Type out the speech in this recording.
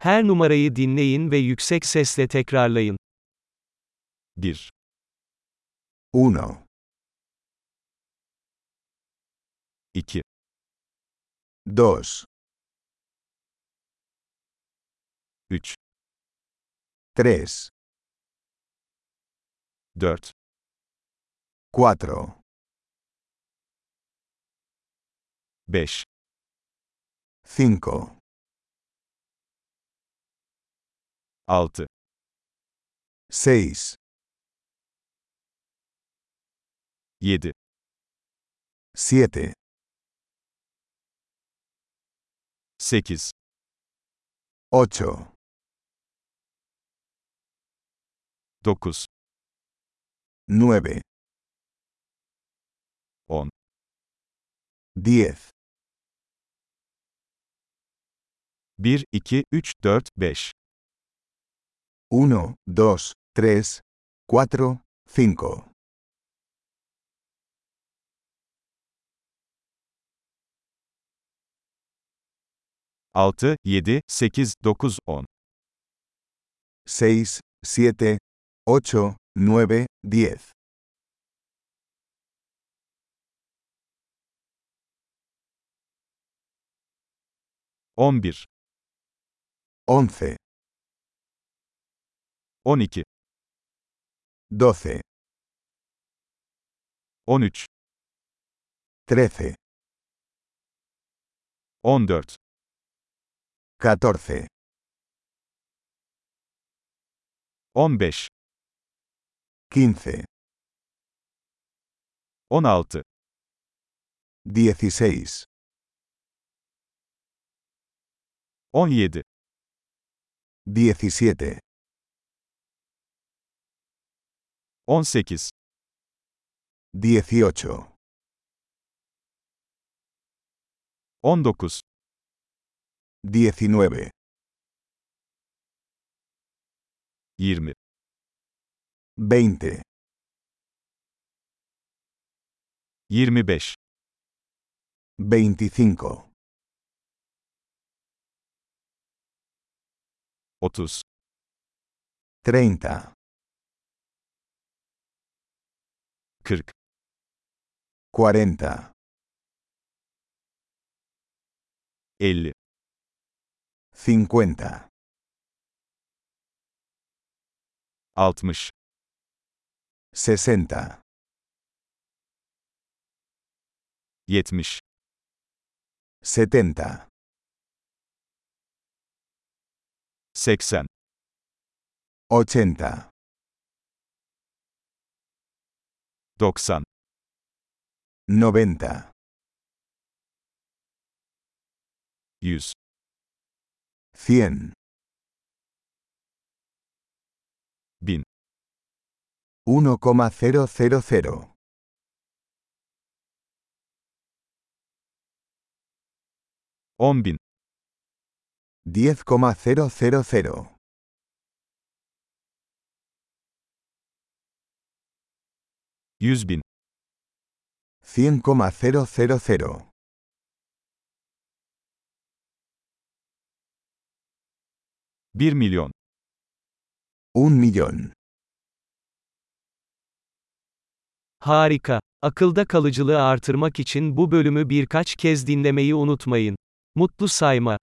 Her numarayı dinleyin ve yüksek sesle tekrarlayın. 1, 1, 2, 2, 3, 3, 4, 4, 5, 5, 6, 6, 7, 7, 8, 8, 9, 9, 10, 10, 1, 2, 3, 4, 5, 1, 2, 3, 4, 5. altı, yedi, sekiz, dokuz, on, 6, 7, 8, 9, 10, 11, 11, 12, 12, 13, 13, 14, 14, 15, 15, 16, 16, 17, 17, 18, 18, 19, 19, 20, 20, 25, 25, 30, 30, 40, 40, 50, 50, 60, 60, 70, 70, 80, 80, 90, 90, 100, 100, 1000, 1,000, 10 bin, 10,000, 100 bin, 100,000, 1 milyon, 1 millón. Harika. Akılda kalıcılığı artırmak için bu bölümü birkaç kez dinlemeyi unutmayın. Mutlu sayma.